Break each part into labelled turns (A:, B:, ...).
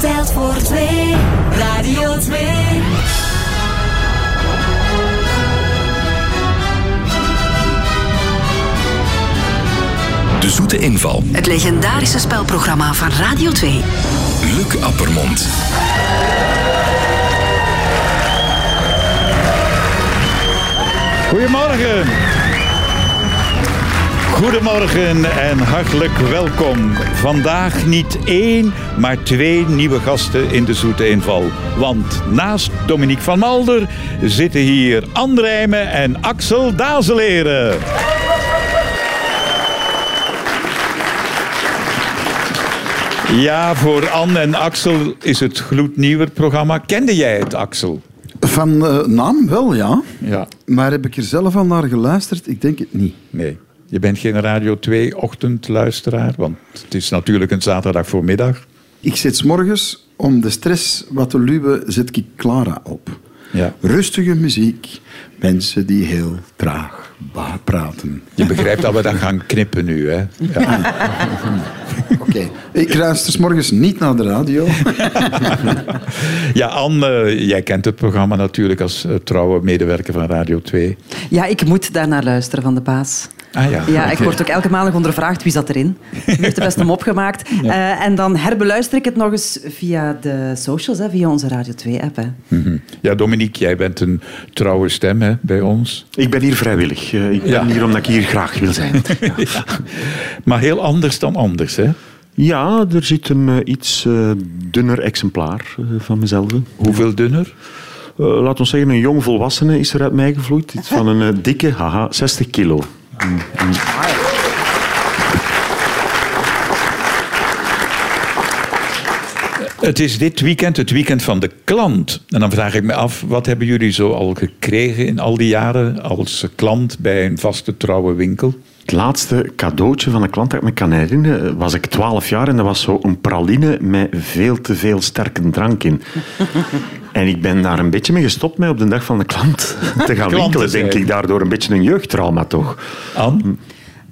A: telt voor twee. Radio 2.
B: De zoete inval.
C: Het legendarische spelprogramma van Radio 2.
B: Luc Appermond.
D: Goedemorgen. Goedemorgen en hartelijk welkom. Vandaag niet één, maar twee nieuwe gasten in de Zoete Inval. Want naast Dominique van Malder zitten hier Anne Rijmen en Axel Dazeleren. Ja, voor Anne en Axel is het gloednieuwer programma. Kende jij het, Axel?
E: Van eh, naam wel, ja.
D: Ja.
E: Maar heb ik er zelf al naar geluisterd? Ik denk het niet.
D: Nee. Je bent geen Radio 2-ochtendluisteraar, want het is natuurlijk een zaterdag voormiddag.
E: Ik zit 's morgens om de stress wat te luwen, zet ik Clara op.
D: Ja.
E: Rustige muziek, mensen die heel traag ba- praten.
D: Je begrijpt dat we dat gaan knippen nu, hè? Ja.
E: Oké, ik luister 's morgens niet naar de radio.
D: Ja, Anne, eh, jij kent het programma natuurlijk als eh, trouwe medewerker van Radio 2.
F: Ja, ik moet daarnaar luisteren van de baas.
D: Ah ja,
F: ja
D: oké.
F: ik word ook elke maandag ondervraagd wie zat erin. Wie heeft de beste mop gemaakt? Eh, en dan herbeluister ik het nog eens via de socials, hè, via onze Radio 2-app.
D: Mhm. Ja, Dominique, jij bent een trouwe stem hè, bij ons.
G: Ik ben hier vrijwillig. Eh, Ik ben
D: Ja.
G: hier omdat ik hier graag wil zijn.
D: Maar heel anders dan anders, hè?
G: ja, er zit een eh, iets eh, dunner exemplaar eh, van mezelf. in.
D: Hoeveel dunner?
G: Eh laat ons zeggen, een jong volwassene is er uit mij gevloeid. Iets van een eh, dikke, haha, 60 kilo.
D: Het is dit weekend, het weekend van de klant. En dan vraag ik me af, wat hebben jullie zo al gekregen in al die jaren als klant bij een vaste trouwe winkel?
G: Het laatste cadeautje van een klant dat ik me kan herinneren, eh, was ik 12 jaar en dat was zo een praline met veel te veel sterke drank in. En ik ben daar een beetje mee gestopt met op de dag van de klant te gaan winkelen,
D: zijn.
G: denk ik. Daardoor een beetje een jeugdtrauma toch.
D: An?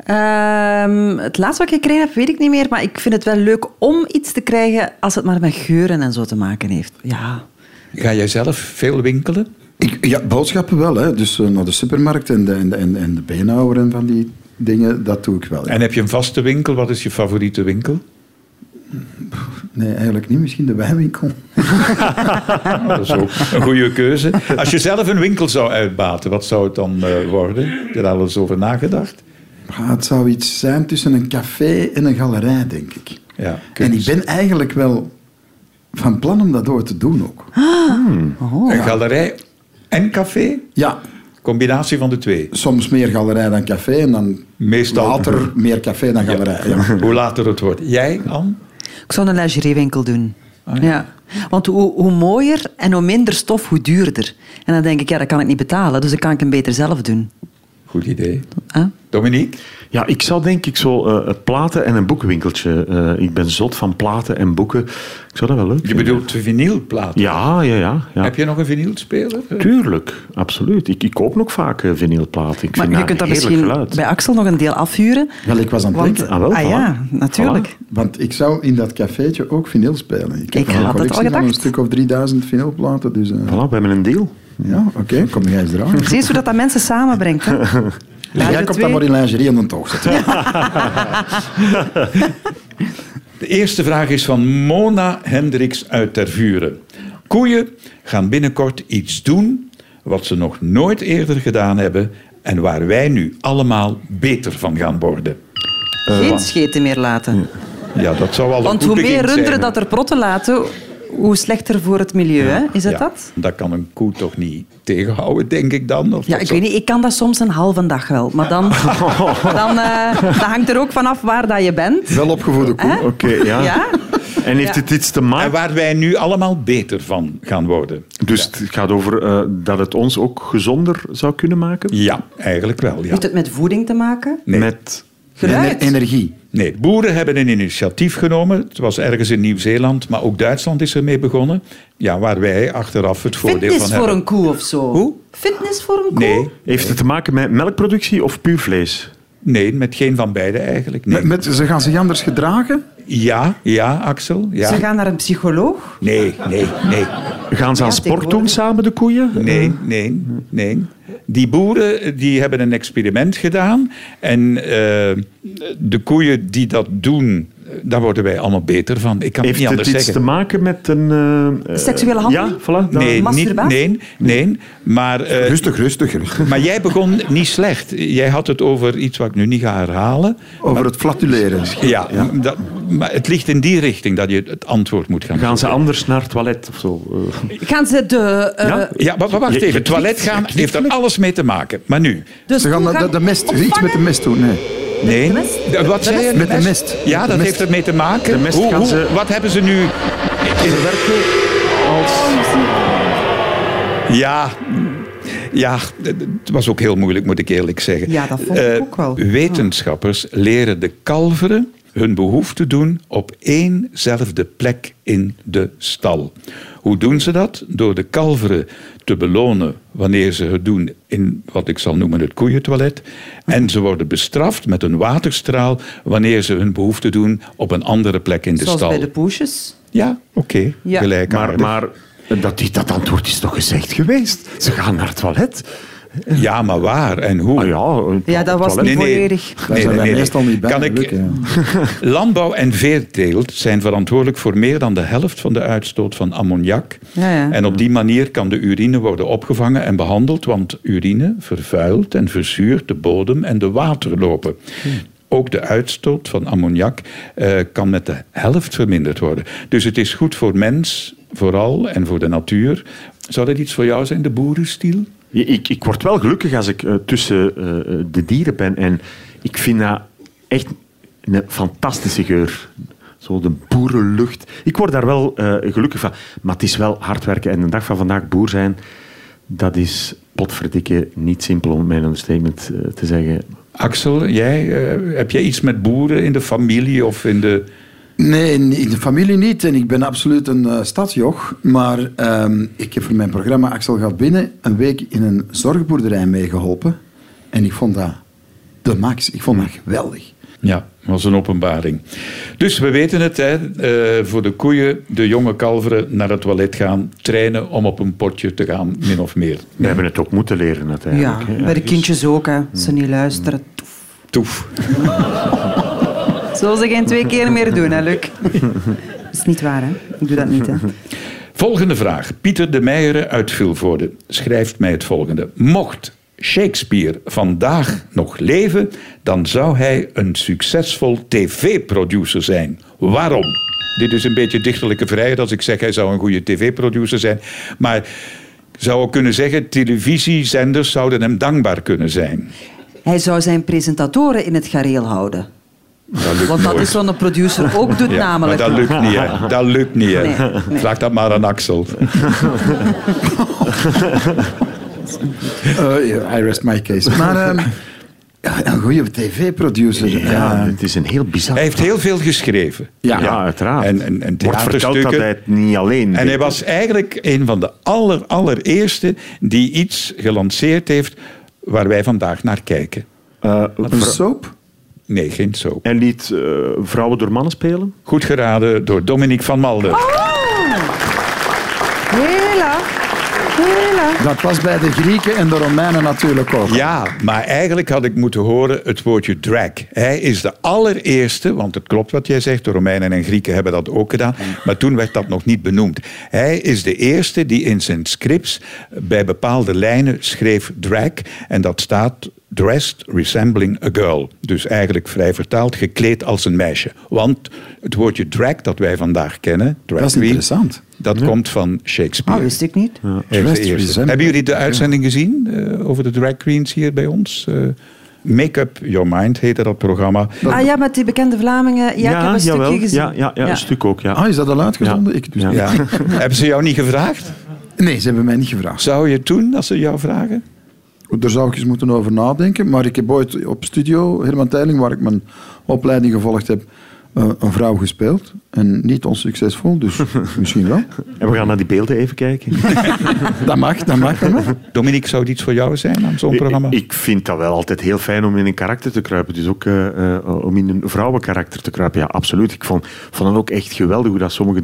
F: Ehm, het laatste wat ik gekregen heb, weet ik niet meer. Maar ik vind het wel leuk om iets te krijgen als het maar met geuren en zo te maken heeft. Ja.
D: Ga jij zelf veel winkelen?
E: Ik, ja, boodschappen wel, hè. dus eh, naar de supermarkt en de, en, de- en, de- en de beenhouwer en van die dingen, dat doe ik wel. ja.
D: En heb je een vaste winkel? Wat is je favoriete winkel?
E: Nee, eigenlijk niet, misschien de wijnwinkel.
D: Nou, dat is ook een goede keuze. Als je zelf een winkel zou uitbaten, wat zou het dan eh, worden? Heb je daar al eens over nagedacht?
E: Ja, het zou iets zijn tussen een café en een galerij, denk ik.
D: Ja,
E: en ik
D: kunst.
E: ben eigenlijk wel van plan om dat door te doen ook.
D: Een galerij en café?
E: Ja,
D: Combinatie van de twee.
E: soms meer galerij dan café en dan
D: Meestal.
E: later meer café dan galerij. Ja.
D: Hoe later het wordt. Jij, Anne?
F: Ik zou een lingeriewinkel doen. ja. Want hoe, hoe mooier en hoe minder stof, hoe duurder. En dan denk ik, ja, dat kan ik niet betalen, dus dat kan ik hem beter zelf doen.
D: Goed idee.
F: Hè?
D: Dominique?
G: Ja, ik zou denk ik zo eh, het platen- en een boekwinkeltje. eh, ik ben zot van platen en boeken. Ik zou dat wel leuk
D: Je
G: vinden.
D: bedoelt vinylplaten.
G: Ja, ja, ja. ja.
D: Heb je nog een vinylspeler?
G: Tuurlijk, absoluut. Ik, ik koop nog vaak eh, vinylplaten. Ik
F: Maar
G: vind
F: je kunt dat
G: heerlijk
F: misschien
G: geluid.
F: bij Axel nog een deel afhuren.
E: Wel, ik was aan het
F: Want,
E: denken.
G: ah, wel, voilà.
F: ja, natuurlijk.
E: Want ik zou in dat cafeetje ook vinyl spelen. Ik heb
F: Ik
E: al een
F: had het al
E: collectie van een
F: gedacht.
E: stuk of 3000 vinylplaten. Dus, eh,
G: Voilà, we hebben een deal.
E: Ja, oké, kom jij eens eraan.
F: Zie eens hoe dat, dat mensen samenbrengt. Hè?
E: Jij
F: Radio
E: komt
F: 2.
E: dan maar in lingerie aan de tocht zetten.
D: De eerste vraag is van Mona Hendricks uit Tervuren. Koeien gaan binnenkort iets doen wat ze nog nooit eerder gedaan hebben en waar wij nu allemaal beter van gaan worden.
F: Geen scheten meer laten.
D: Ja, dat zou al een
F: Want
D: goed
F: hoe meer
D: begin
F: runderen
D: zijn.
F: dat er protten laten, hoe slechter voor het milieu. hè? Is het
D: Ja,
F: dat?
D: Dat kan een koe toch niet tegenhouden, denk ik dan? Of
F: Ja,
D: dat
F: ik
D: zou-
F: weet niet. Ik kan dat soms een halve dag wel. Maar dan, dan eh, dat hangt er ook vanaf waar dat je bent.
E: Wel opgevoede koe.
G: Oké, ja.
F: Ja?
G: En heeft
F: Ja.
G: dit iets te
D: En
G: maken?
D: waar wij nu allemaal beter van gaan worden.
G: Dus het gaat over eh, dat het ons ook gezonder zou kunnen maken?
D: Ja, eigenlijk wel. Ja.
F: Heeft het met voeding te maken?
D: Nee.
G: Met...
E: Ener-
F: Geluid?
E: energie.
D: Nee, boeren hebben een initiatief genomen. Het was ergens in Nieuw-Zeeland, maar ook Duitsland is ermee begonnen. Ja, waar wij achteraf het voordeel
F: Fitness
D: van
F: voor
D: hebben.
F: een koe of zo?
D: Hoe?
F: Fitness voor een koe?
D: Nee,
G: Heeft het te maken met melkproductie of puur vlees?
D: Nee, met geen van beide eigenlijk. Nee.
E: Met, met, ze gaan zich anders gedragen?
D: Ja, ja, Axel.
F: Ze
D: Ja.
F: gaan naar een psycholoog.
D: Nee, nee, nee.
G: Gaan ze aan sport doen
F: tegenwoordig.
G: samen, de koeien?
D: Nee, nee, nee. Die boeren die hebben een experiment gedaan. En eh, de koeien die dat doen, daar worden wij allemaal beter van. Ik kan het
G: Heeft
D: niet
G: het
D: anders
G: iets
D: zeggen.
G: te maken met een... eh, eh,
F: Seksuele handeling?
G: Ja, voilà. daar-
D: Nee, niet,
F: Masturbatie?
D: nee, nee. Maar, eh,
E: Rustig, rustig, rustig.
D: maar jij begon niet slecht. Jij had het over iets wat ik nu niet ga herhalen.
E: Over het flatuleren.
D: Ja, Dat, maar het ligt in die richting dat je het antwoord moet gaan
G: Gaan ze anders naar het toilet of zo? Eh,
F: Gaan ze de... eh,
G: ja?
D: Ja, maar maar wacht
G: Je- je
D: even.
G: knikt,
D: toilet
G: je
D: gaan
G: knikt
D: heeft er
G: flink.
D: alles mee te maken. Maar nu.
F: de
E: Ze Dus gaan de, de,
F: stoelgang
E: de mest, iets met de
F: opvangen?
E: mest doen. Nee.
D: Nee.
F: de mest?
D: De- Wat zei je?
E: Met de mest.
D: Ja,
E: Met
D: dat
E: de mest.
D: heeft ermee te maken.
G: De mest
D: hoe,
G: gaan
D: hoe-
G: ze-
D: Wat hebben ze nu...
G: Ze werken als...
D: Ja, ja, het was ook heel moeilijk, moet ik eerlijk zeggen.
F: Ja, dat vond ik
D: Eh,
F: ook wel.
D: Wetenschappers leren de kalveren hun behoefte doen op éénzelfde plek in de stal. Hoe doen ze dat? Door de kalveren te belonen wanneer ze het doen in wat ik zal noemen het koeientoilet. En ze worden bestraft met een waterstraal wanneer ze hun behoefte doen op een andere plek in de
F: Zoals
D: stal.
F: bij de poesjes.
D: Ja, oké,
F: Ja.
D: gelijkaardig.
G: Maar, maar dat, dat antwoord is toch gezegd geweest? Ze gaan naar het toilet.
D: Ja, maar waar en hoe?
G: Ah ja,
F: Ja, dat was
G: toilet.
F: niet volledig.
E: Daar zijn wij meestal niet bij,
D: Kan ik,
E: gelukkig,
D: Landbouw en veeteelt zijn verantwoordelijk voor meer dan de helft van de uitstoot van ammoniak.
F: Ja, ja.
D: En op die manier kan de urine worden opgevangen en behandeld, want urine vervuilt en verzuurt de bodem en de waterlopen.
F: Hmm.
D: Ook de uitstoot van ammoniak eh, kan met de helft verminderd worden. Dus het is goed voor mens, vooral, en voor de natuur. Zou dat iets voor jou zijn, de boerenstiel?
G: Je- Ik, ik word wel gelukkig als ik eh, tussen eh, eh, de dieren ben. En ik vind dat echt een fantastische geur. Zo de boerenlucht. Ik word daar wel eh, gelukkig van. Maar het is wel hard werken. En de dag van vandaag boer zijn, dat is potverdikke niet simpel om mijn understatement eh, te zeggen.
D: Axel, jij, eh, heb jij iets met boeren in de familie of in de...
E: Nee, in in de familie niet. En ik ben absoluut een eh, stadjoch. Maar ehm, ik heb voor mijn programma Axel gaat binnen een week in een zorgboerderij meegeholpen. En ik vond dat de max. Ik vond dat geweldig.
D: Ja, was een openbaring. Dus we weten het, hè, eh, voor de koeien, de jonge kalveren naar het toilet gaan, trainen om op een potje te gaan, min of meer.
G: We hebben het ook moeten leren
F: Ja,
G: uiteindelijk. hè. dus-
F: bij de kindjes ook. Hè. Als Ze niet luisteren.
D: Toef.
F: Zullen ze geen twee keer meer doen, hè, Luc? Dat is niet waar, hè? Ik doe dat niet, hè?
D: Volgende vraag. Pieter de Meijeren uit Vilvoorde schrijft mij het volgende. Mocht Shakespeare vandaag nog leven, dan zou hij een succesvol tv-producer zijn. Waarom? Dit is een beetje dichterlijke vrijheid als ik zeg hij zou een goede tv-producer zijn. Maar ik zou ook kunnen zeggen, televisiezenders zouden hem dankbaar kunnen zijn.
F: Hij zou zijn presentatoren in het gareel houden.
D: Dat lukt
F: Want dat
D: nooit.
F: is wat een producer ook doet,
D: Ja,
F: namelijk.
D: Maar dat lukt niet, hè. Dat lukt niet, hè.
F: Nee, nee.
D: Vraag dat maar aan Axel.
E: Eh, I rest my case. Maar ehm, ja, een goede tv-producer. eh,
G: Ja,
E: Ja.
G: het is een heel bizar...
D: Hij heeft heel veel geschreven.
G: ja, uiteraard.
D: En- en- en
G: Wordt verteld
D: theaterstukken.
G: dat hij het niet alleen
D: En hij
G: deed.
D: was eigenlijk een van de aller, allereerste die iets gelanceerd heeft waar wij vandaag naar kijken.
G: Eh,
E: Een soap?
D: Nee, geen soap.
G: en liet eh, vrouwen door mannen spelen.
D: Goed geraden door Dominique van Malden.
F: Oh! Hela. Hela.
E: Dat was bij de Grieken en de Romeinen natuurlijk ook.
D: Ja, maar eigenlijk had ik moeten horen het woordje drag. Hij is de allereerste, want het klopt wat jij zegt, de Romeinen en Grieken hebben dat ook gedaan, maar toen werd dat nog niet benoemd. Hij is de eerste die in zijn scripts bij bepaalde lijnen schreef drag en dat staat dressed resembling a girl. Dus eigenlijk vrij vertaald gekleed als een meisje. Want het woordje drag dat wij vandaag kennen, drag
E: Dat is
D: queen,
E: interessant.
D: dat komt van
F: Oh,
D: Shakespeare.
F: wist ik niet.
D: Heeft
E: Dressed
D: de eerste.
E: resembling.
D: Hebben jullie de uitzending gezien eh, over de drag queens hier bij ons? Eh, Make Up Your Mind heette dat programma.
F: Ah ja, met die bekende Vlamingen. Ja, ik heb een
G: jawel.
F: stukje gezien.
G: Ja, ja, ja, een stuk ook, ja.
E: Ah, is dat al uitgezonden?
G: Ja.
E: Ik dus
G: Ja.
E: niet.
D: Ja. Hebben ze jou niet gevraagd?
E: Nee, ze hebben mij niet gevraagd.
D: Zou je toen, als ze jou vragen?
E: Daar zou ik eens moeten over nadenken. Maar ik heb ooit op studio, Herman Teiling, waar ik mijn opleiding gevolgd heb, eh, een vrouw gespeeld. En niet onsuccesvol, dus misschien wel.
G: En we gaan naar die beelden even kijken.
E: Dat mag, dat mag. Dat mag.
D: Dominique, zou dit iets voor jou zijn aan zo'n
G: Ik-
D: programma?
G: Ik, vind dat wel altijd heel fijn om in een karakter te kruipen. Dus ook eh, eh, om in een vrouwenkarakter te kruipen. Ja, absoluut. Ik vond, vond het ook echt geweldig hoe dat sommigen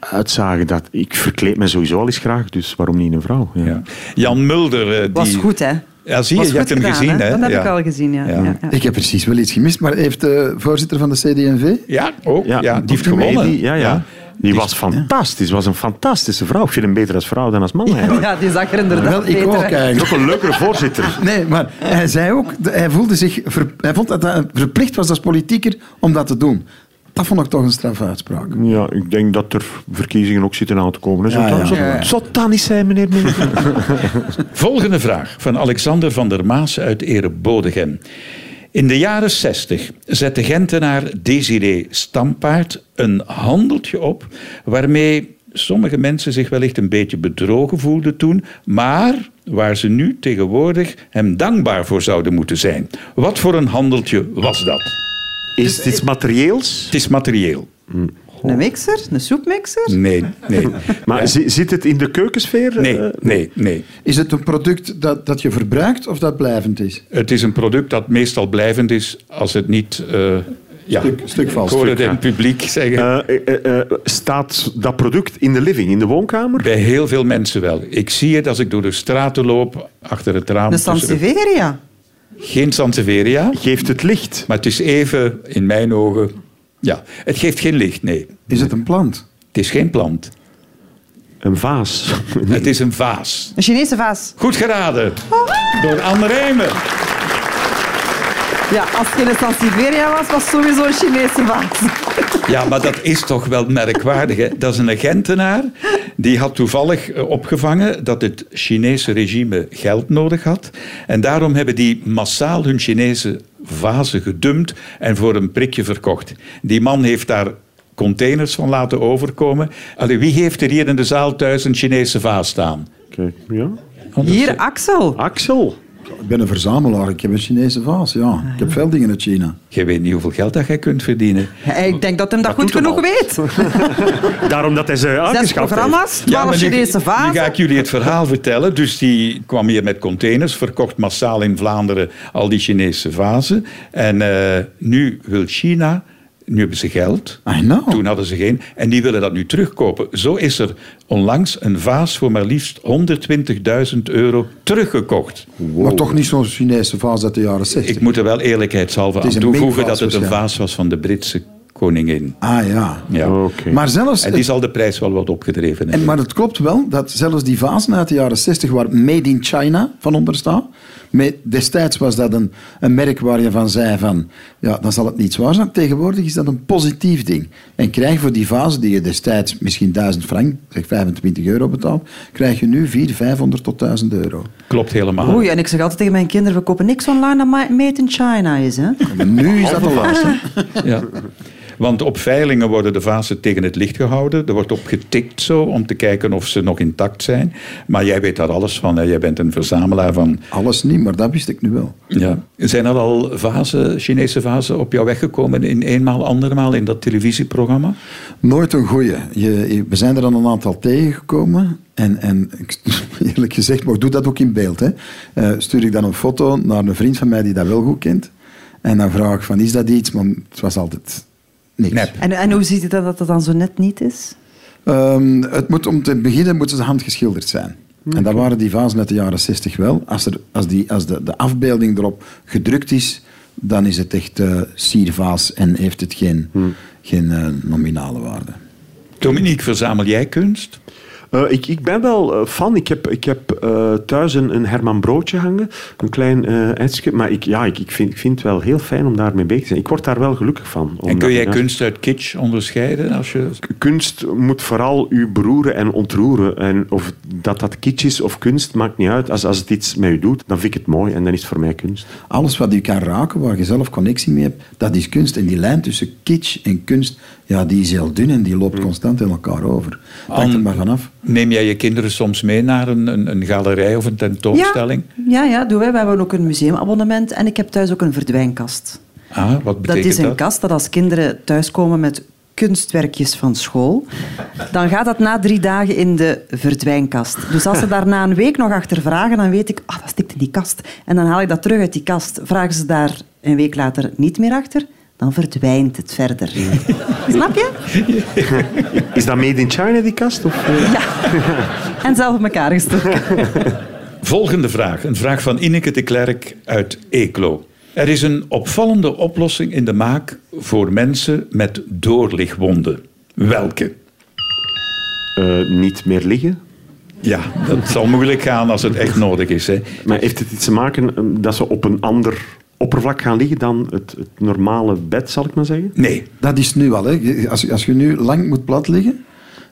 G: eruit zagen. Dat, ik verkleed me sowieso al eens graag, dus waarom niet een vrouw? Ja.
D: Ja. Jan Mulder. eh, die...
F: Was goed, hè?
D: Ja, zie je,
F: Was
D: je hebt
F: goed
D: hem
F: gedaan,
D: gezien, hè?
F: Dat heb
D: Ja.
F: ik al gezien, ja.
D: Ja.
F: ja. ja.
E: Ik heb precies wel iets gemist, maar heeft de voorzitter van de CD&V...
D: Ja, ook. Ja, die heeft
G: Comedie,
D: gewonnen.
G: Ja, ja. Die was fantastisch. was een fantastische vrouw. Ik vind hem beter als vrouw dan als man. eigenlijk.
F: Ja, die zag er inderdaad
E: Wel, ik
F: beter
E: ook
F: uit.
G: Hij is
E: eigenlijk.
G: ook een leukere voorzitter.
E: Nee, maar hij zei ook, de- hij voelde zich, ver- hij vond dat hij verplicht was als politieker om dat te doen. Dat vond ik toch een straffe uitspraak.
G: Ja, ik denk dat er verkiezingen ook zitten aan te komen. hè. Zou
E: Ja,
G: dat-
E: ja.
G: zou-
E: Ja, ja.
G: zou dat niet zijn, meneer minister?
D: Volgende vraag van Alexander van der Maas uit Erebodegem. In de jaren 60 zette Gentenaar Desiree Stampaard een handeltje op waarmee sommige mensen zich wellicht een beetje bedrogen voelden toen, maar waar ze nu tegenwoordig hem dankbaar voor zouden moeten zijn. Wat voor een handeltje was dat?
G: Is
F: Dus
G: het iets materieels?
D: Het is materieel.
F: Een mixer? Een soepmixer?
D: Nee, nee.
G: Maar zi- zit het in de keukensfeer?
D: Nee,
G: Eh,
D: nee, nee.
E: Is het een product dat, dat je verbruikt of dat blijvend is?
D: Het is een product dat meestal blijvend is als het niet... eh, ja,
E: Stuk- stuk valt.
D: Ik hoorde
G: Stuk,
D: het in
G: ja.
D: het publiek zeggen.
G: Eh, eh, eh, eh, staat dat product in de living, in de woonkamer?
D: Bij heel veel mensen wel. Ik zie het als ik door de straten loop, achter het raam.
F: Een
D: tussen de-
F: Sansevieria?
D: Geen Sansevieria,
G: Geeft het licht?
D: maar het is even, in mijn ogen... Ja, het geeft geen licht, nee.
E: Is het een plant?
D: Het is geen plant.
G: Een vaas.
D: Het is een vaas.
F: Een Chinese vaas?
D: Goed geraden door Anne Rijmen.
F: Ja, als het geen Sansevieria was, was het sowieso een Chinese vaas.
D: Ja, maar dat is toch wel merkwaardig. Hè? Dat is een Gentenaar. Die had toevallig eh, opgevangen dat het Chinese regime geld nodig had. En daarom hebben die massaal hun Chinese vazen gedumpt en voor een prikje verkocht. Die man heeft daar containers van laten overkomen. Allee, wie heeft er hier in de zaal thuis een Chinese vaas staan? eh,
G: Oké, ja.
F: Hier, Axel.
G: Axel.
E: Ik ben een verzamelaar, ik heb een Chinese vaas, ja. Ik heb veel dingen uit China.
D: Je weet niet hoeveel geld dat jij kunt verdienen.
F: Ik denk dat hem dat, goed
G: doet hem
F: genoeg weet.
G: Daarom dat hij ze
F: Zes
G: aangeschaft heeft.
F: programma's, twaalf
D: maar nu-
F: Chinese
D: Nu ga
F: vazen.
D: ik jullie het verhaal vertellen. Dus die kwam hier met containers, verkocht massaal in Vlaanderen al die Chinese vazen. En eh, nu wil China, nu hebben ze geld.
E: I know.
D: Toen hadden ze geen. En die willen dat nu terugkopen. Zo is er onlangs een vaas voor maar liefst 120.000 euro teruggekocht.
E: Maar toch niet zo'n Chinese vaas uit de jaren 60.
D: Ik moet er wel eerlijkheidshalve aan
E: is een dus,
D: toevoegen
E: minkvaas
D: dat het een vaas was van de Britse koningin.
E: Ah ja.
D: Ja.
G: Oké.
E: Maar zelfs...
D: En die zal de prijs wel wat opgedreven hebben.
E: En, maar het klopt wel dat zelfs die vazen uit de jaren 60 waar Made in China van onder staat. met- Destijds was dat een, een merk waar je van zei van, ja, dan zal het niet zwaar zijn. Tegenwoordig is dat een positief ding. En krijg je voor die vazen die je destijds misschien 1000 frank, zeg 25 euro betaalt, krijg je nu 400, 500 tot 1000 euro.
D: Klopt helemaal.
F: Oei, en ik zeg altijd tegen mijn kinderen, we kopen niks online dat ma- made in China is. Hè?
E: En nu is dat al waar. hè.
D: Ja. Want op veilingen worden de vazen tegen het licht gehouden. Er wordt op getikt zo, om te kijken of ze nog intact zijn. Maar jij weet daar alles van. Hè? Jij bent een verzamelaar van...
E: Alles niet, maar dat wist ik nu wel.
D: Ja. Zijn er al vazen, Chinese vazen op jou weggekomen in eenmaal, andermaal in dat televisieprogramma?
E: Nooit een goeie. Je, je- we zijn er dan een aantal tegengekomen. En, en ik- eerlijk gezegd, maar ik doe dat ook in beeld. Hè. Eh, stuur ik dan een foto naar een vriend van mij die dat wel goed kent. En dan vraag ik van, is dat iets? Maar het was altijd niks.
D: Nep.
F: En, en hoe ziet het dan dat dat dan zo net niet is?
E: Ehm, het moet, om te beginnen moeten ze handgeschilderd zijn. En dat waren die vazen uit de jaren 60 wel. Als, er, als, die, als de, de afbeelding erop gedrukt is, dan is het echt eh siervaas en heeft het geen, geen eh, nominale waarde.
D: Dominique, verzamel jij kunst?
G: Eh, ik, ik ben wel eh, fan. Ik heb, ik heb eh, thuis een, een Herman Broodje hangen. Een klein eh etsje. Maar ik, ja, ik, ik, vind, ik vind het wel heel fijn om daarmee bezig te zijn. Ik word daar wel gelukkig van.
D: en
G: Omdat-
D: kun jij
G: ja.
D: kunst uit kitsch onderscheiden? Als je...
G: kunst moet vooral u beroeren en ontroeren. En of dat dat kitsch is of kunst, maakt niet uit. Als, als het iets met u doet, dan vind ik het mooi en dan is het voor mij kunst.
E: Alles wat u kan raken, waar je zelf connectie mee hebt, dat is kunst. En die lijn tussen kitsch en kunst, ja, die is heel dun en die loopt constant in elkaar over. Pak er maar vanaf.
D: Neem jij je kinderen soms mee naar een, een, een galerij of een tentoonstelling?
F: Ja, ja, ja, doen wij. We hebben ook een museumabonnement en ik heb thuis ook een verdwijnkast.
D: Ah, wat
F: Dat
D: betekent
F: is
D: dat?
F: een kast dat als kinderen thuiskomen met kunstwerkjes van school, dan gaat dat na drie dagen in de verdwijnkast. Dus als ze daar na een week nog achter vragen, dan weet ik, ah, dat stikt in die kast. En dan haal ik dat terug uit die kast. Vragen ze daar een week later niet meer achter, dan verdwijnt het verder. Snap je?
G: Is dat made in China, die kast? Of, eh?
F: Ja. En zelf op elkaar gestoken.
D: Volgende vraag. Een vraag van Ineke de Klerk uit Eeklo. Er is een opvallende oplossing in de maak voor mensen met doorligwonden. Welke?
G: Eh, niet meer liggen?
D: Ja, dat zal moeilijk gaan als het echt nodig is. Hè?
G: Maar heeft het iets te maken eh, dat ze op een ander oppervlak gaan liggen dan het, het normale bed, zal ik maar zeggen?
D: Nee,
E: Dat is nu al. Hè. Als, je- als je nu lang moet plat liggen,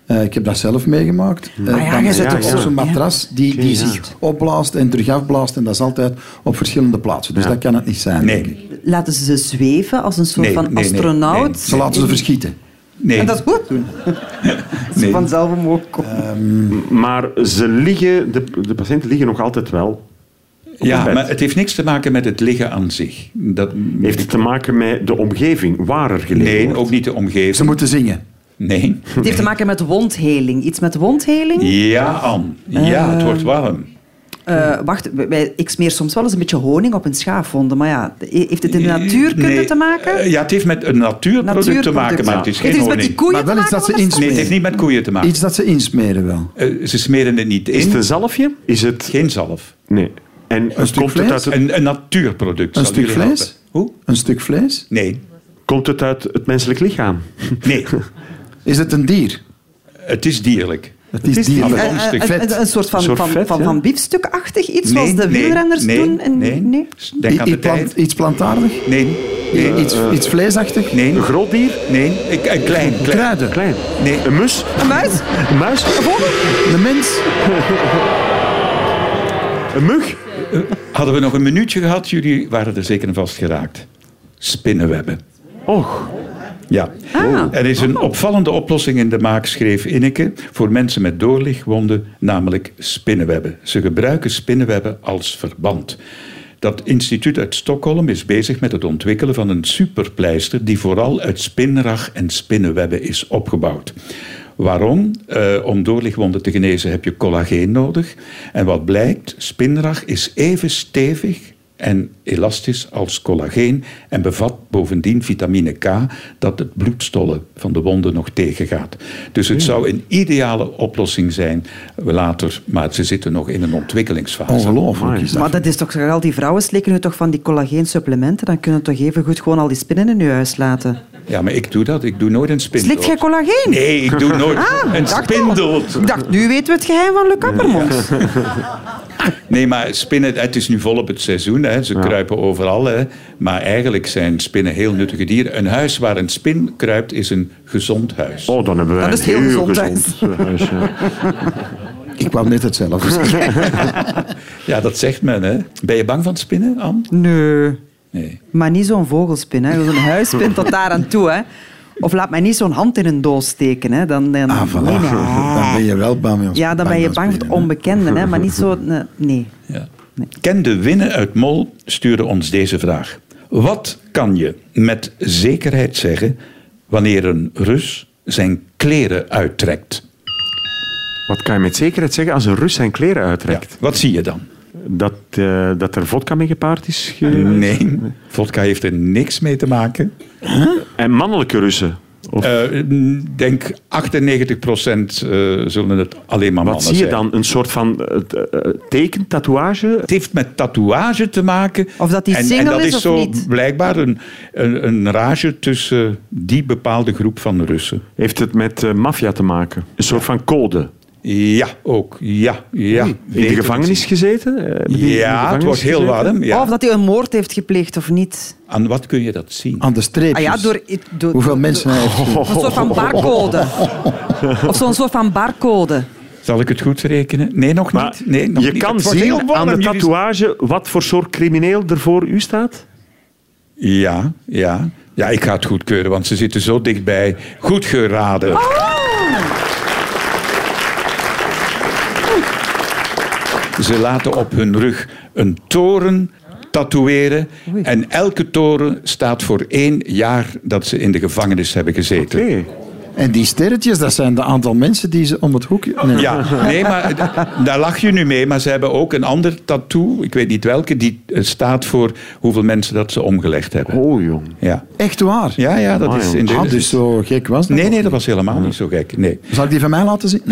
E: eh, ik heb dat zelf meegemaakt, eh,
F: Ah ja,
E: dan
F: je
E: zit
G: zit
E: er
G: op
E: op
G: zo'n-
E: zo'n matras die, die
G: Ja.
E: zich opblaast en terug afblaast. En dat is altijd op verschillende plaatsen. Dus
G: Ja.
E: dat kan het niet zijn. denk ik.
D: nee,
F: Laten ze ze zweven als een soort
D: Nee,
F: van
D: nee, nee,
F: astronaut.
D: nee.
E: Ze laten ze verschieten.
D: nee.
F: En dat is goed. doen. Ze
D: Nee.
F: vanzelf omhoog komen.
G: Maar ze liggen, de, de patiënten liggen nog altijd wel.
D: ja,
G: bed.
D: maar het heeft niks te maken met het liggen aan zich. Dat,
G: Heeft het te maken met de omgeving, waar er gelegen
D: nee,
G: wordt?
D: ook niet de omgeving.
E: Ze moeten zingen.
D: Nee.
F: Het heeft te maken met wondheling. Iets met wondheling?
D: Ja, An. Ja, het wordt warm.
F: Eh, wacht, wij- ik smeer soms wel eens een beetje honing op een schaafwonden. Maar ja, heeft het in de natuurkunde
D: Nee,
F: te maken?
D: eh, Ja, het heeft met een natuurproduct te maken, maar het is geen
F: heeft iets met
D: honing.
F: die koeien
E: Maar wel
F: te
E: iets dat ze
F: maken, want
D: Nee, het heeft
E: insmeren.
D: niet met koeien te maken.
E: Iets dat ze insmeren wel.
D: Eh, ze smeren het niet
G: Is
D: in.
G: het een zalfje? Is het...
D: Geen zalf.
G: Nee. En
E: Een stuk
G: komt het,
E: vlees?
G: uit het,
D: Een, een natuurproduct.
E: Een
D: zal
E: stuk
D: jullie helpen.
E: vlees?
D: Hoe?
E: Een stuk vlees?
D: Nee.
G: komt het uit het menselijk lichaam?
D: Nee.
E: Is het een dier?
D: het is dierlijk.
E: Het is,
D: is
E: dierlijk.
D: niet-
F: dat-
D: een
F: Eh,
D: stuk
F: eh,
E: vet.
F: Een, soort van,
G: Een soort
F: van,
G: vet,
F: van,
G: ja.
F: van biefstukachtig iets, zoals de wielrenners
D: nee,
F: doen. En,
D: nee.
F: nee.
D: Denk aan
E: I-
D: de
E: iets, plant-
D: tijd.
E: iets plantaardig?
D: Nee. Nee.
E: iets, iets vleesachtig?
D: nee.
G: Een groot dier?
D: Nee. Ik- eh, klein. klein.
E: Kruiden?
G: Klein.
D: Nee.
G: Een mus?
F: Een muis?
G: Een muis?
E: De mens?
G: Een mug?
D: Hadden we nog een minuutje gehad, jullie waren er zeker aan vastgeraakt. Spinnenwebben.
G: Och.
D: Ja.
F: Ah.
D: Er is een opvallende oplossing in de maak, schreef Inneke, voor mensen met doorlichtwonden, namelijk spinnenwebben. Ze gebruiken spinnenwebben als verband. Dat instituut uit Stockholm is bezig met het ontwikkelen van een superpleister die vooral uit spinrag en spinnenwebben is opgebouwd. Waarom? Eh, om doorlichtwonden te genezen heb je collageen nodig. En wat blijkt, spinrag is even stevig en elastisch als collageen en bevat bovendien vitamine K dat het bloedstollen van de wonden nog tegengaat. Dus het zou een ideale oplossing zijn eh, later, maar ze zitten nog in een ontwikkelingsfase.
E: Ongelooflijk is
F: Maar
E: dat.
F: dat is toch al die vrouwen slikken nu toch van die collageensupplementen? Dan kunnen we toch even goed gewoon al die spinnen in je huis laten.
D: Ja, maar ik doe dat. Ik doe nooit een spindel.
F: Slikt jij collageen?
D: Nee, ik doe nooit
F: Ah,
D: een
F: dacht al.
D: spindel.
F: Ik dacht, nu weten we het geheim van Luc Appermond.
D: Nee, maar spinnen, het is nu volop het seizoen. Hè. Ze kruipen overal. Hè. Maar eigenlijk zijn spinnen heel nuttige dieren. Een huis waar een spin kruipt is een gezond huis.
G: Oh, dan hebben wij
F: Dat is
G: een
F: heel
G: heel
F: gezond
G: gezond eh, huis. ja.
E: Ik wou net hetzelfde zeggen.
D: Ja, dat zegt men. Hè. Ben je bang van spinnen, Anne?
F: Nee.
D: Nee.
F: Maar niet zo'n vogelspin, hè. Zo'n huispin tot daar aan toe, hè. Of laat mij niet zo'n hand in een doos steken, hè. Dan, dan,
E: Ah, voilà.
F: Nee, nee.
E: Dan ben je wel bang voor ons.
F: Ja, dan ben je
E: voor
F: bang
E: ons
F: voor het
E: benen, hè.
F: onbekende, hè. Maar niet zo... Nee. nee.
D: Ja. Ken de Winnen uit Mol stuurde ons deze vraag. Wat kan je met zekerheid zeggen wanneer een Rus zijn kleren uittrekt?
G: Wat kan je met zekerheid zeggen als een Rus zijn kleren
D: Ja,
G: uittrekt?
D: wat zie je dan?
G: Dat, eh, dat er vodka mee gepaard is? ge-
D: Nee, vodka heeft er niks mee te maken.
G: En mannelijke Russen? Of
D: Eh, denk 98% eh, zullen het alleen maar mannen
G: wat zie je
D: zijn.
G: dan? Een soort van eh, t- eh, teken, tatoeage?
D: Het heeft met tatoeage te maken.
F: Of dat die
D: en,
F: single
D: en dat
F: is
D: is,
F: of
D: zo
F: niet?
D: blijkbaar een, een, een rage tussen die bepaalde groep van Russen.
G: Heeft het met eh, maffia te maken? Een soort van code?
D: Ja, ook. Ja, ja.
G: In
D: Weet
G: de
D: het
G: gevangenis
D: niet.
G: gezeten? Eh, hebben die in de
D: Ja, het
G: gevangenis
D: wordt heel
G: gezeten?
D: warm. Ja.
F: Of dat hij een moord heeft gepleegd of niet.
D: Aan wat kun je dat zien?
E: Aan de
F: Ah
E: streepjes.
F: ja, door... Oh. door
E: Hoeveel mensen hij heeft.
F: Een soort van barcode. Of zo'n soort van barcode.
D: Zal ik het goed rekenen? Nee, nog
G: Maar
D: niet. Nee, nog
G: je
D: niet.
G: kan
D: Het wordt heel
G: zien
D: warm,
G: aan de
D: jullie-
G: tatoeage wat voor soort crimineel er voor u staat?
D: Ja, ja. Ja, ik ga het goedkeuren, want ze zitten zo dichtbij. Goed geraden. Ze laten op hun rug een toren tatoeëren.
F: Oei.
D: En elke toren staat voor één jaar dat ze in de gevangenis hebben gezeten.
G: Oké.
E: En die sterretjes, dat zijn de aantal mensen die ze om het hoekje... Nee.
D: Ja, nee, maar d- daar lach je nu mee. Maar ze hebben ook een ander tattoo, ik weet niet welke, die eh, staat voor hoeveel mensen dat ze omgelegd hebben.
G: Oh, jong.
D: Ja,
E: Echt waar?
D: ja, ja dat is in de...
E: Ah, dus zo gek was dat.
D: Nee, nee, dat was helemaal niet zo gek. Nee.
E: Zal ik die van mij laten zien?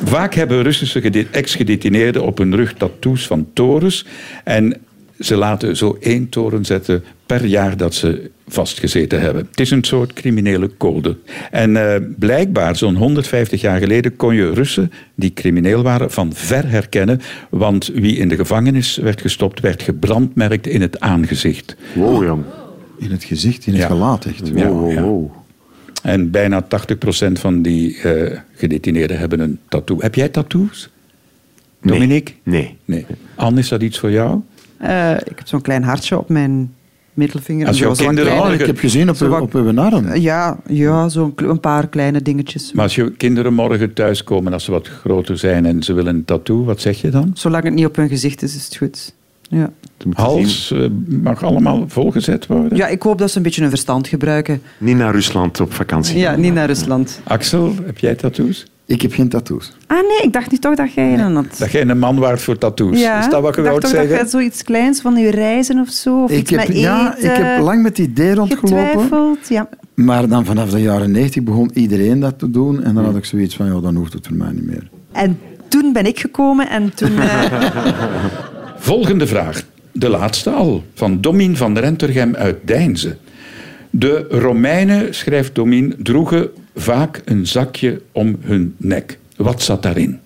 E: Nee.
D: Vaak hebben Russische gede- ex-gedetineerden op hun rug tattoos van torens. En ze laten zo één toren zetten per jaar dat ze vastgezeten hebben. Het is een soort criminele code. En eh, blijkbaar, zo'n 150 jaar geleden, kon je Russen die crimineel waren van ver herkennen. Want wie in de gevangenis werd gestopt, werd gebrandmerkt in het aangezicht.
G: Wow, Oh, jong. Oh,
E: In het gezicht, in het
D: Ja.
E: gelaat echt.
D: Ja,
G: Wow, wow,
D: ja.
G: wow.
D: En bijna 80% van die eh, gedetineerden hebben een tattoo. Heb jij tattoos?
G: Nee.
D: Dominique?
G: Nee.
D: Nee. Anne, is dat iets voor jou?
F: Eh, ik heb zo'n klein hartje op mijn middelvinger.
D: Als
F: Zo
D: jouw
F: zo'n
D: kinderen-
E: Oh,
F: kleine-
E: ik heb gezien op,
F: Zo wat-
E: op webinaren.
F: Ja, ja zo'n kle- een paar kleine dingetjes.
D: Maar als je kinderen morgen thuiskomen, als ze wat groter zijn en ze willen een tattoo, wat zeg je dan?
F: Zolang het niet op hun gezicht is, is het goed. Ja.
D: Hals eh, mag allemaal volgezet worden.
F: ja, ik hoop dat ze een beetje hun verstand gebruiken.
G: Niet naar Rusland op vakantie.
F: Ja, niet naar Rusland.
D: Axel, heb jij tattoos?
E: Ik heb geen tattoos.
F: Ah nee, ik dacht niet toch dat jij een had.
D: Dat jij een man waard voor tattoos.
F: Ja,
D: is dat wat je
F: ik dacht
D: wilt
F: toch dat
D: zeggen?
F: jij zoiets kleins van je reizen of zo, of
E: Ik
F: iets
E: heb,
F: met
E: ja,
F: eten,
E: ik heb lang met die idee rondgelopen.
F: getwijfeld. Ja.
E: Maar dan vanaf de jaren 90 begon iedereen dat te doen. En dan had ik zoiets van, ja, dan hoeft het voor mij niet meer.
F: En toen ben ik gekomen en toen... eh,
D: Volgende vraag. De laatste al. Van Domin van Rentergem uit Deinze. De Romeinen, schrijft Domin, droegen vaak een zakje om hun nek. Wat zat daarin?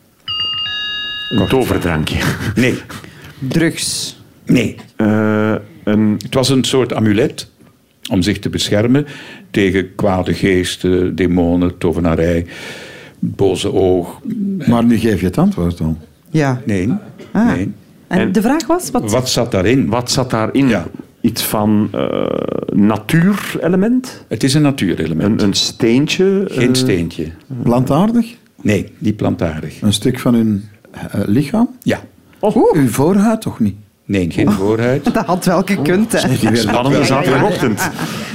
G: Een toverdrankje.
D: Nee,
F: drugs.
D: nee. ehm,
G: Eh, een,
D: Het was een soort amulet om zich te beschermen tegen kwade geesten, demonen, tovenarij, boze oog.
E: Maar nu geef je het antwoord al.
F: Ja.
D: Nee,
F: Ah.
D: nee.
F: En,
G: En-
F: de vraag was, wat...
D: Wat zat daarin?
G: wat zat daarin?
D: Ja.
G: Iets van eh natuurelement?
D: Het is een natuurelement.
G: Een, een steentje?
D: Geen
G: eh,
D: steentje.
E: Plantaardig?
D: Nee, niet plantaardig.
E: Een stuk van hun eh, lichaam?
D: Ja.
E: Uw voorhuid toch niet?
D: Nee, geen voorhuid.
F: Dat had wel gekund, hè.
E: Die werden-
G: Spannende zaterdagochtend.
D: Ah,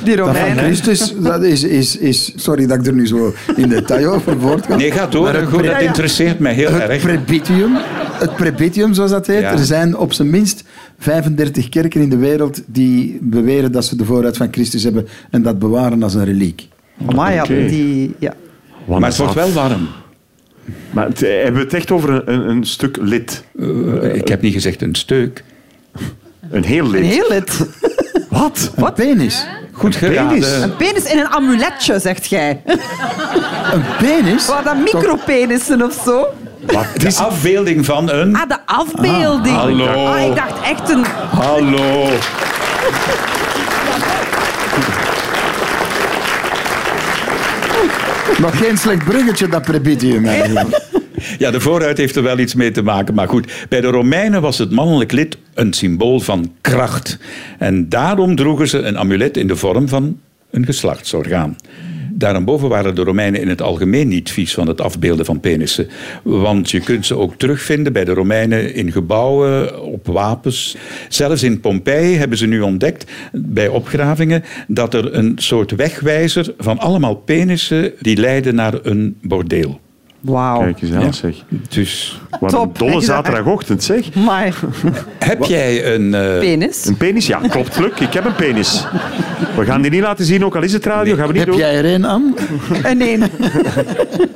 F: Die
E: Dat van
F: Romeinen.
E: Christus, dat is, is, is... Sorry dat ik er nu zo in detail over voortga.
D: Nee, ga door.
E: Maar het
D: Goed, dat
E: pre-
D: interesseert mij heel
E: Het
D: erg.
E: prebitium, het prebitium, zoals dat heet.
D: Ja.
E: Er zijn op zijn minst 35 kerken in de wereld die beweren dat ze de vooruit van Christus hebben en dat bewaren als een reliek.
F: Maar ja,
G: Oké.
F: die... Ja.
G: Want
D: Maar het wordt wel warm.
G: Maar het, eh, hebben we het echt over een, een, een stuk lid?
D: Eh, ik heb niet gezegd een steuk.
G: Een heel lid?
F: Een heel lid.
G: Wat?
E: Een penis.
D: Goed
G: penis.
D: geraden.
F: Een penis in een amuletje, zegt jij.
E: Een penis?
F: Waar dan micropenissen of zo.
D: De afbeelding van een...
F: Ah, de afbeelding. Ah,
D: hallo.
F: ik dacht echt een...
D: Hallo.
E: Nog geen slecht bruggetje, dat prebitium eigenlijk.
D: Ja, de vooruit heeft er wel iets mee te maken. Maar goed, bij de Romeinen was het mannelijk lid een symbool van kracht. En daarom droegen ze een amulet in de vorm van een geslachtsorgaan. Daarboven waren de Romeinen in het algemeen niet vies van het afbeelden van penissen. Want je kunt ze ook terugvinden bij de Romeinen in gebouwen, op wapens. Zelfs in Pompeii hebben ze nu ontdekt, bij opgravingen, dat er een soort wegwijzer van allemaal penissen die leiden naar een bordeel.
F: Wauw.
G: Kijk eens aan, zeg.
D: Dus
G: Wat
F: Top.
G: een dolle
F: Kijk eens aan.
G: zaterdagochtend, zeg.
F: Maar
D: Heb jij een... eh,
F: penis.
G: Een penis? Ja, klopt, Luc. Ik heb een penis. We gaan die niet laten zien, ook al is het radio. Gaan we niet
E: Heb
G: doen.
E: jij er één aan?
F: Een één.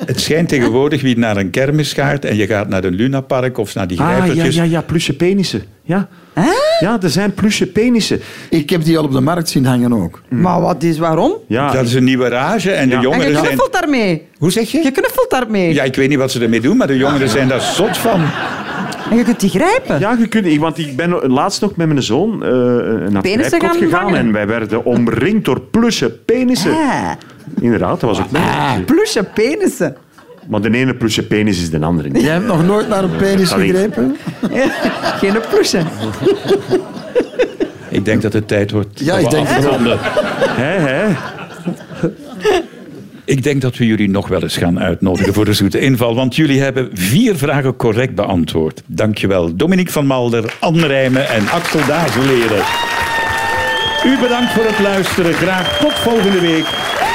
D: het schijnt tegenwoordig wie naar een kermis gaat en je gaat naar een lunapark of naar die
G: Ah, ja,
D: grijpertjes.
G: ja, ja, plusje penissen. Ja. ja, er zijn plusje penissen.
E: Ik heb die al op de markt zien hangen ook.
F: Maar wat is waarom?
G: Ja,
D: Dat is een nieuwe rage en
G: Ja.
D: de
F: En je
D: jongeren zijn...
F: knuffelt daarmee.
D: Hoe zeg
F: Je
D: je?
F: knuffelt daarmee.
D: Ja, ik weet niet wat ze ermee doen, maar de jongeren
G: Ah.
D: zijn daar zot van.
F: En je kunt die grijpen.
G: Ja, je kunt, want ik ben laatst nog met mijn zoon eh naar
F: Penissen
G: het
F: gaan
G: gegaan
F: vangen.
G: en wij werden omringd door plusje penissen.
F: Ah,
G: Inderdaad, dat was ook leuk.
F: plusje Ah, penissen.
G: Maar de ene plusje penis is de andere niet.
E: Jij hebt nog nooit naar een penis
G: Sorry.
E: gegrepen?
F: Geen plusje.
D: Ik denk dat het tijd wordt.
E: Ja, ik
D: om
E: denk het
D: af te ronden.
G: Hè, hè?
D: Ik denk dat we jullie nog wel eens gaan uitnodigen voor de zoete inval. Want jullie hebben vier vragen correct beantwoord. Dankjewel. Dominique van Malder, Anne Rijmen en Axel Dazeleren. U bedankt voor het luisteren. Graag tot volgende week.